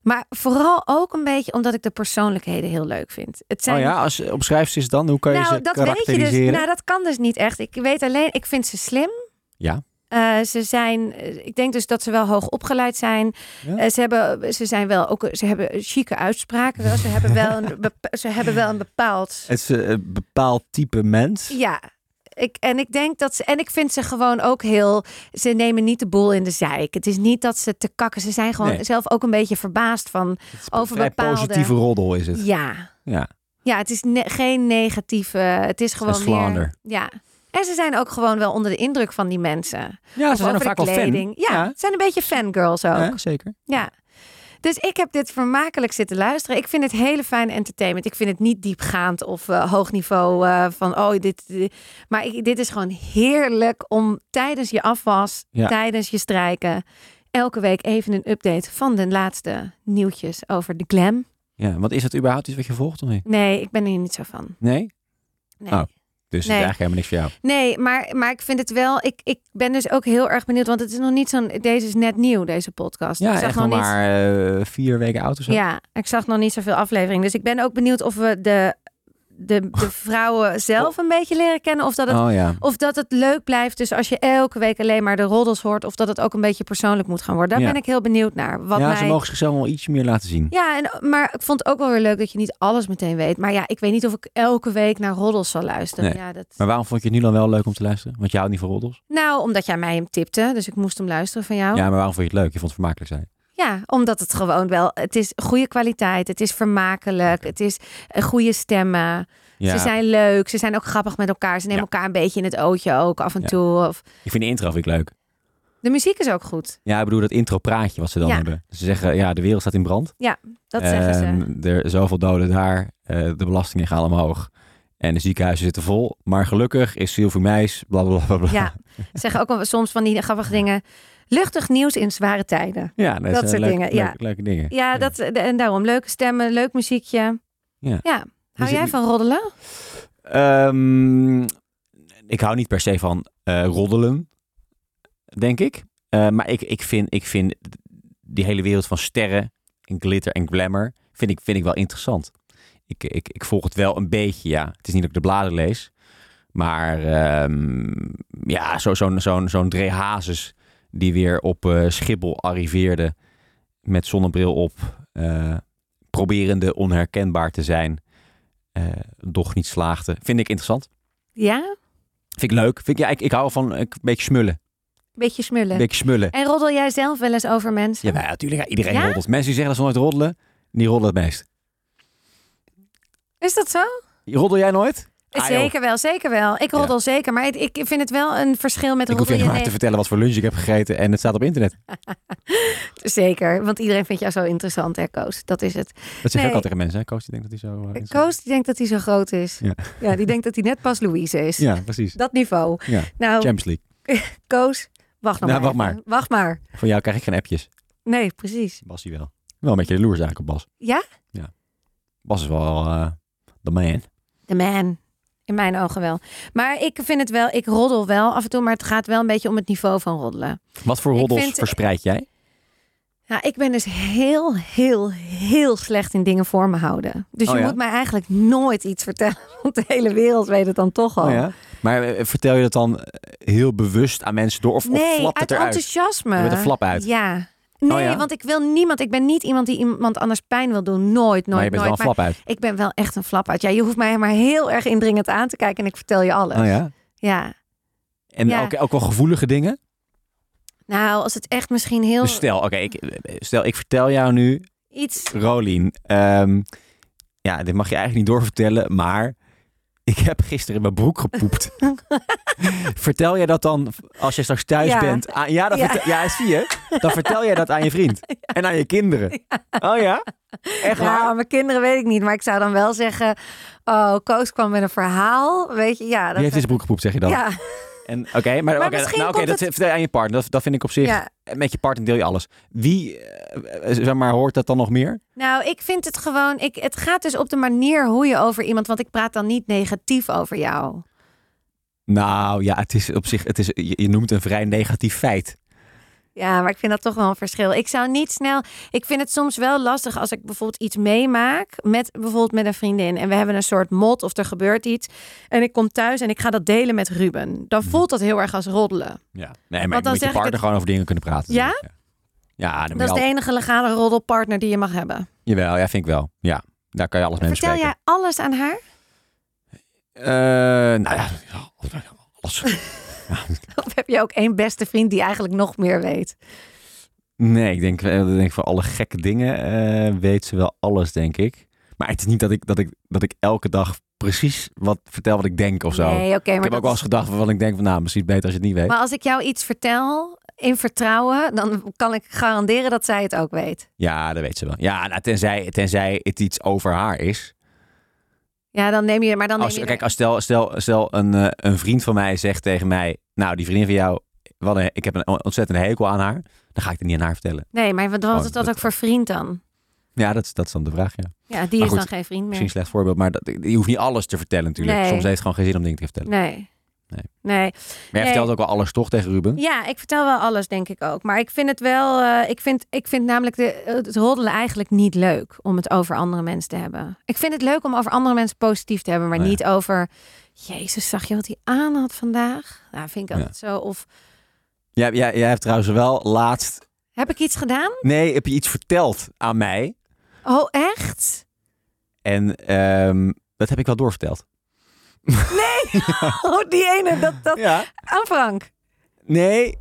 Speaker 2: Maar vooral ook een beetje omdat ik de persoonlijkheden heel leuk vind. Het zijn
Speaker 3: Oh ja, als je omschrijft ze eens dan, hoe kan je
Speaker 2: nou,
Speaker 3: ze
Speaker 2: dat weet je dus.
Speaker 3: karakteriseren?
Speaker 2: Nou, dat kan dus niet echt. Ik weet alleen, ik vind ze slim.
Speaker 3: Ja.
Speaker 2: Eh, ze zijn, eh, ik denk dus dat ze wel hoog opgeleid zijn.
Speaker 3: Ja.
Speaker 2: Eh, ze, hebben, ze zijn wel ook, ze hebben chique uitspraken. Wel. Ze, hebben wel een, bepa- ze hebben wel een bepaald.
Speaker 3: Het is eh, een bepaald type mens.
Speaker 2: Ja. Ik, en ik denk dat ze, en ik vind ze gewoon ook heel. Ze nemen niet de boel in de zeik. Het is niet dat ze te kakken. Ze zijn gewoon
Speaker 3: Nee.
Speaker 2: zelf ook een beetje verbaasd van.
Speaker 3: Het is een
Speaker 2: over
Speaker 3: vrij
Speaker 2: bepaalde-
Speaker 3: positieve roddel is het.
Speaker 2: Ja,
Speaker 3: Ja.
Speaker 2: ja het is ne- geen negatieve. Het is gewoon.
Speaker 3: is
Speaker 2: meer-
Speaker 3: Vlaanderen.
Speaker 2: ja. En ze zijn ook gewoon wel onder de indruk van die mensen.
Speaker 3: Ja,
Speaker 2: Of over de kleding. Ja,
Speaker 3: Ja.
Speaker 2: het zijn een beetje fangirls ook. Ja.
Speaker 3: zeker.
Speaker 2: Dus ik heb dit vermakelijk zitten luisteren. Ik vind het hele fijne entertainment. Ik vind het niet diepgaand of eh, hoog niveau eh, van oh dit. dit. Maar ik, dit is gewoon heerlijk om tijdens je afwas,
Speaker 3: Ja.
Speaker 2: tijdens je strijken, elke week even een update van de laatste nieuwtjes over de glam.
Speaker 3: Ja, want is dat überhaupt iets wat je volgt of niet?
Speaker 2: Nee, ik ben er niet zo van.
Speaker 3: Nee?
Speaker 2: Nee.
Speaker 3: Oh. Dus
Speaker 2: Nee.
Speaker 3: het is eigenlijk helemaal niks voor jou.
Speaker 2: Nee, maar, maar ik vind het wel. Ik, ik ben dus ook heel erg benieuwd. Want het is nog niet zo'n. Deze is net nieuw, deze podcast. ik
Speaker 3: Ja,
Speaker 2: zag
Speaker 3: echt
Speaker 2: nog
Speaker 3: nog
Speaker 2: niet
Speaker 3: maar eh, vier weken oud of zo.
Speaker 2: Ja, ik zag nog niet zoveel afleveringen. Dus ik ben ook benieuwd of we de, de, de vrouwen zelf een beetje leren kennen. Of dat, het,
Speaker 3: Oh ja.
Speaker 2: of dat het leuk blijft. Dus als je elke week alleen maar de roddels hoort. Of dat het ook een beetje persoonlijk moet gaan worden. Daar
Speaker 3: Ja.
Speaker 2: ben ik heel benieuwd naar. Wat
Speaker 3: ja,
Speaker 2: mij...
Speaker 3: ze mogen zichzelf wel iets meer laten zien.
Speaker 2: Ja, en, maar ik vond het ook wel weer leuk dat je niet alles meteen weet. Maar ja, ik weet niet of ik elke week naar roddels zal luisteren.
Speaker 3: Nee.
Speaker 2: Ja, dat...
Speaker 3: Maar waarom vond je het nu dan wel leuk om te luisteren? Want je houdt niet van roddels.
Speaker 2: Nou, omdat jij mij hem tipte. Dus ik moest hem luisteren van jou.
Speaker 3: Ja, maar waarom vond je het leuk? Je vond het vermakelijk zijn.
Speaker 2: Ja, omdat het gewoon wel... Het is goede kwaliteit. Het is vermakelijk. Het is eh, goede stemmen.
Speaker 3: Ja.
Speaker 2: Ze zijn leuk. Ze zijn ook grappig met elkaar. Ze nemen
Speaker 3: Ja.
Speaker 2: elkaar een beetje in het ootje ook af en
Speaker 3: Ja.
Speaker 2: toe. Of...
Speaker 3: Ik vind de intro vind ik leuk.
Speaker 2: De muziek is ook goed.
Speaker 3: Ja, ik bedoel dat intro praatje wat ze dan
Speaker 2: Ja.
Speaker 3: hebben. Ze zeggen, ja, de wereld staat in brand.
Speaker 2: Dat zeggen ze.
Speaker 3: Ehm, Er zoveel doden daar. eh, de belastingen gaan omhoog. En de ziekenhuizen zitten vol. Maar gelukkig is Sylvie Meis, bla bla bla bla.
Speaker 2: Ja. Ze zeggen ook wel soms van die grappige dingen. Luchtig nieuws in zware tijden.
Speaker 3: Ja, dat,
Speaker 2: Dat
Speaker 3: zijn
Speaker 2: soort
Speaker 3: leuke-
Speaker 2: dingen, ja.
Speaker 3: leuke- leuke dingen.
Speaker 2: Ja, dat, eh, en daarom leuke stemmen, leuk muziekje.
Speaker 3: Ja. Dus
Speaker 2: Hou
Speaker 3: zit
Speaker 2: jij
Speaker 3: nu-
Speaker 2: van roddelen?
Speaker 3: Ehm, ik hou niet per se van eh, roddelen, denk ik. Eh, maar ik, ik, vind, ik vind die hele wereld van sterren en glitter en glamour vind ik, vind ik wel interessant. Ik, ik, ik volg het wel een beetje, ja. Het is niet dat ik de bladen lees. Maar ehm, ja, zo- zo'n zo, zo'n zo'n Dre Hazes die weer op eh, Schiphol arriveerde met zonnebril op, eh, proberende onherkenbaar te zijn eh doch niet slaagde. Vind ik interessant.
Speaker 2: Ja?
Speaker 3: Vind ik leuk. Vind ik, ja, ik, ik hou van eh, een beetje smullen.
Speaker 2: Beetje smullen.
Speaker 3: Een beetje smullen.
Speaker 2: En roddel jij zelf wel eens over mensen?
Speaker 3: Ja, maar natuurlijk. Ja, iedereen
Speaker 2: Ja?
Speaker 3: roddelt. Mensen die zeggen dat ze nooit roddelen, die roddelen het meest.
Speaker 2: Is dat zo?
Speaker 3: Roddel jij nooit? Ah, joh.
Speaker 2: zeker wel, zeker wel. Ik roddel zeker. Maar het- ik vind het wel een verschil met
Speaker 3: Ik hoef
Speaker 2: roddel
Speaker 3: je
Speaker 2: je
Speaker 3: maar te
Speaker 2: negen-
Speaker 3: vertellen wat voor lunch ik heb gegeten en het staat op internet.
Speaker 2: Zeker, want iedereen vindt jou zo interessant, hè, Koos? Dat is het.
Speaker 3: Dat zeg ik
Speaker 2: Nee.
Speaker 3: ook al tegen mensen. Hè? Koos, die denkt dat hij zo... eh, interessant
Speaker 2: Koos die denkt dat hij zo groot is. Ja,
Speaker 3: Ja.
Speaker 2: die denkt dat hij net pas Louise is.
Speaker 3: is. Ja, precies.
Speaker 2: Dat niveau.
Speaker 3: Ja.
Speaker 2: Nou,
Speaker 3: Champions League.
Speaker 2: Koos, wacht nog
Speaker 3: Nou,
Speaker 2: maar.
Speaker 3: wacht
Speaker 2: even. Wacht maar.
Speaker 3: Van jou krijg ik geen appjes.
Speaker 2: Nee, precies.
Speaker 3: Bas die wel. Wel een beetje de loerzaak op Bas.
Speaker 2: Ja?
Speaker 3: Ja. Bas is wel eh, de man.
Speaker 2: De man. In mijn ogen wel. Maar ik vind het wel, ik roddel wel af en toe, maar het gaat wel een beetje om het niveau van roddelen.
Speaker 3: Wat voor
Speaker 2: Ik
Speaker 3: roddels
Speaker 2: vind-
Speaker 3: verspreid jij?
Speaker 2: Ja, ik ben dus heel, heel, heel slecht in dingen voor me houden. Dus
Speaker 3: Oh
Speaker 2: je
Speaker 3: ja?
Speaker 2: moet mij eigenlijk nooit iets vertellen, want de hele wereld weet het dan toch al.
Speaker 3: Oh ja? Maar eh, vertel je dat dan eh, heel bewust aan mensen door? Of, of
Speaker 2: Nee,
Speaker 3: flapt
Speaker 2: uit
Speaker 3: het eruit?
Speaker 2: enthousiasme.
Speaker 3: Met een flap uit. Oh
Speaker 2: Ja. Nee,
Speaker 3: ja?
Speaker 2: want ik wil niemand. Ik ben niet iemand die iemand anders pijn wil doen. Nooit, nooit,
Speaker 3: maar je bent
Speaker 2: nooit.
Speaker 3: wel een flap uit.
Speaker 2: Maar ik ben wel echt een flap uit. Ja, je hoeft mij maar heel erg indringend aan te kijken en ik vertel je alles.
Speaker 3: Oh ja.
Speaker 2: Ja.
Speaker 3: En
Speaker 2: Ja. Oh.
Speaker 3: Ook, ook wel gevoelige dingen.
Speaker 2: Nou, als het echt misschien heel
Speaker 3: Dus stel, oké, ik, stel, ik vertel jou nu,
Speaker 2: iets.
Speaker 3: Rolien. ehm, ja, dit mag je eigenlijk niet doorvertellen, maar ik heb gisteren in mijn broek gepoept. vertel jij dat dan als je straks thuis
Speaker 2: Ja.
Speaker 3: bent? aan- ja, dat
Speaker 2: Ja.
Speaker 3: vertel- ja, zie je. Dan vertel jij dat aan je vriend en aan je kinderen. Oh ja? Echt waar?
Speaker 2: Ja, mijn kinderen weet ik niet, maar ik zou dan wel zeggen: Oh, Koos kwam met een verhaal. Weet je, ja.
Speaker 3: Die heeft in zijn broek gepoept, zeg je dan.
Speaker 2: ja.
Speaker 3: En oké, maar, oké,
Speaker 2: misschien
Speaker 3: nou, oké,
Speaker 2: komt
Speaker 3: dat
Speaker 2: het-
Speaker 3: vertel je aan je partner. Dat, dat vind ik op zich.
Speaker 2: Ja.
Speaker 3: Met je partner deel je alles. Wie, eh, zeg maar, hoort dat dan nog meer?
Speaker 2: Nou, ik vind het gewoon. Ik, het gaat dus op de manier hoe je over iemand. Want ik praat dan niet negatief over jou.
Speaker 3: Nou ja, het is op zich, het is, je, je noemt een vrij negatief feit.
Speaker 2: Ja, maar ik vind dat toch wel een verschil. Ik zou niet snel. Ik vind het soms wel lastig als ik bijvoorbeeld iets meemaak. Met bijvoorbeeld met een vriendin. En we hebben een soort mot of er gebeurt iets. En ik kom thuis en ik ga dat delen met Ruben. Dan voelt dat heel erg als roddelen.
Speaker 3: Mhm. Ja. Nee,
Speaker 2: Want dan
Speaker 3: maar je moet
Speaker 2: zeg
Speaker 3: je
Speaker 2: ik
Speaker 3: partner
Speaker 2: het-
Speaker 3: gewoon over dingen kunnen praten.
Speaker 2: Ja?
Speaker 3: natuurlijk. Ja, ja dan moet
Speaker 2: Dat is
Speaker 3: je
Speaker 2: de
Speaker 3: al-
Speaker 2: enige legale roddelpartner die je mag hebben.
Speaker 3: Jawel, ja, vind ik wel. Ja, daar kan je alles mee
Speaker 2: Vertel
Speaker 3: bespreken.
Speaker 2: jij alles aan haar?
Speaker 3: Eh, nou ja, ja, alles.
Speaker 2: Of heb je ook één beste vriend die eigenlijk nog meer weet?
Speaker 3: Nee, ik denk, eh, ik denk voor alle gekke dingen eh, weet ze wel alles, denk ik. Maar het is niet dat ik, dat ik, dat ik elke dag precies wat vertel wat ik denk of zo.
Speaker 2: Nee, oké. maar
Speaker 3: ik heb
Speaker 2: dat
Speaker 3: ook wel
Speaker 2: is-
Speaker 3: eens gedacht waarvan ik denk van, nou, misschien beter als je het niet weet.
Speaker 2: Maar als ik jou iets vertel in vertrouwen, dan kan ik garanderen dat zij het ook weet.
Speaker 3: Ja, dat weet ze wel. Ja, nou, tenzij, tenzij het iets over haar is.
Speaker 2: Ja, dan neem je, maar dan neem
Speaker 3: Als,
Speaker 2: je.
Speaker 3: kijk, als stel, stel, stel een, eh, een vriend van mij zegt tegen mij, nou, die vriendin van jou, wat een- ik heb een ontzettende hekel aan haar, dan ga ik het niet aan haar vertellen.
Speaker 2: Nee, maar wat was
Speaker 3: Oh,
Speaker 2: het dat
Speaker 3: dat-
Speaker 2: ook voor vriend dan?
Speaker 3: Ja, dat, is- dat is dan de vraag, ja.
Speaker 2: Ja, die
Speaker 3: Maar
Speaker 2: is
Speaker 3: goed,
Speaker 2: dan geen vriend
Speaker 3: Misschien een
Speaker 2: meer.
Speaker 3: slecht voorbeeld, maar dat, je hoeft niet alles te vertellen natuurlijk.
Speaker 2: Nee.
Speaker 3: Soms heeft het gewoon geen zin om dingen te vertellen.
Speaker 2: Nee.
Speaker 3: Nee.
Speaker 2: Nee.
Speaker 3: Maar jij
Speaker 2: Nee.
Speaker 3: vertelt ook wel alles toch tegen Ruben?
Speaker 2: Ja, ik vertel wel alles, denk ik ook. Maar ik vind het wel. eh, ik, vind, ik vind namelijk de, het roddelen eigenlijk niet leuk om het over andere mensen te hebben. Ik vind het leuk om over andere mensen positief te hebben, maar
Speaker 3: Oh ja.
Speaker 2: niet over. Jezus, zag je wat hij aan had vandaag? Nou, vind ik
Speaker 3: Ja.
Speaker 2: altijd zo. Of
Speaker 3: Jij, jij, jij hebt trouwens wel laatst...
Speaker 2: heb ik iets gedaan?
Speaker 3: Nee, heb je iets verteld aan mij?
Speaker 2: Oh, echt?
Speaker 3: En ehm, dat heb ik wel doorverteld.
Speaker 2: Oh, die ene, dat, dat...
Speaker 3: Ja.
Speaker 2: aan Frank.
Speaker 3: Nee.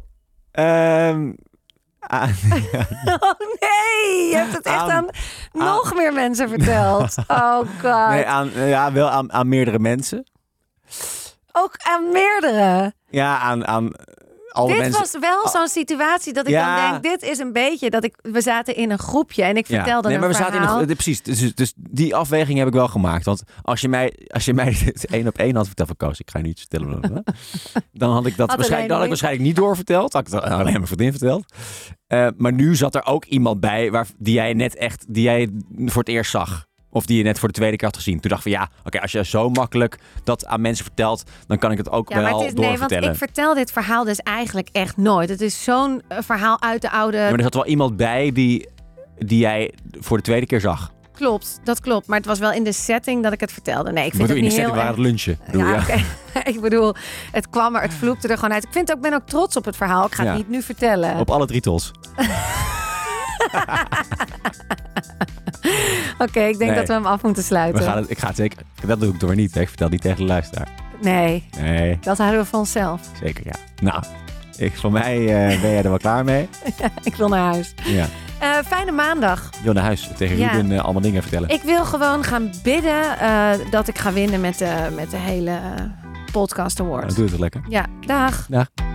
Speaker 3: ehm, aan-
Speaker 2: Oh nee, je hebt het echt aan,
Speaker 3: Aan-
Speaker 2: nog meer mensen verteld. Oh god.
Speaker 3: nee, aan, ja, wel aan, aan meerdere mensen.
Speaker 2: Ook aan meerdere.
Speaker 3: Ja, aan, aan alle
Speaker 2: dit
Speaker 3: mensen. Ah.
Speaker 2: was wel zo'n situatie dat ik
Speaker 3: Ja.
Speaker 2: dan denk, dit is een beetje dat ik... We zaten in een groepje en ik
Speaker 3: Ja.
Speaker 2: vertelde
Speaker 3: nee, maar
Speaker 2: een
Speaker 3: we
Speaker 2: verhaal.
Speaker 3: zaten in een gro- Precies, dus, dus die afweging heb ik wel gemaakt. Want als je mij, als je mij dit één op één had verteld van Koos, ik ga je niet vertellen. dan had ik dat
Speaker 2: Had
Speaker 3: waarschijnlijk, dan had ik
Speaker 2: alleen
Speaker 3: waarschijnlijk niet doorverteld. Had ik dat alleen aan mijn vriendin verteld. Eh, maar nu zat er ook iemand bij waar, die jij net echt, die jij voor het eerst zag. Of die je net voor de tweede keer had gezien. Toen dacht ik van ja, oké, als je zo makkelijk dat aan mensen vertelt, dan kan ik het ook
Speaker 2: ja, maar
Speaker 3: wel
Speaker 2: het is, nee, want
Speaker 3: doorvertellen.
Speaker 2: ik vertel dit verhaal dus eigenlijk echt nooit. Het is zo'n eh, verhaal uit de oude...
Speaker 3: Ja, maar er zat wel iemand bij die, die jij voor de tweede keer zag.
Speaker 2: Klopt, dat klopt. Maar het was wel in de setting dat ik het vertelde. Nee, ik vind
Speaker 3: bedoel,
Speaker 2: het
Speaker 3: in de
Speaker 2: niet
Speaker 3: setting
Speaker 2: heel
Speaker 3: waar
Speaker 2: erg-
Speaker 3: het lunchen. bedoel
Speaker 2: ja,
Speaker 3: je?
Speaker 2: oké. ik bedoel, het kwam er, het vloekte er gewoon uit. Ik vind ook, ben ook trots op het verhaal. Ik ga
Speaker 3: Ja.
Speaker 2: het niet nu vertellen.
Speaker 3: Op alle drie tools.
Speaker 2: Oké, ik denk
Speaker 3: Nee.
Speaker 2: dat we hem af moeten
Speaker 3: We
Speaker 2: sluiten.
Speaker 3: gaan het, ik ga het zeker. Dat doe ik door niet. Hè. Ik vertel niet tegen de luisteraar.
Speaker 2: Nee,
Speaker 3: Nee,
Speaker 2: dat houden we van onszelf.
Speaker 3: zeker ja. Nou, ik, voor mij eh, ben jij er wel klaar mee.
Speaker 2: Ik wil naar huis.
Speaker 3: Ja.
Speaker 2: Eh, fijne maandag.
Speaker 3: Jo naar huis tegen
Speaker 2: Ja.
Speaker 3: Ruben eh, allemaal dingen vertellen.
Speaker 2: Ik wil gewoon gaan bidden eh, dat ik ga winnen met de, met de hele eh, podcast
Speaker 3: Nou,
Speaker 2: award.
Speaker 3: doe het wel lekker.
Speaker 2: Ja, dag.
Speaker 3: Dag.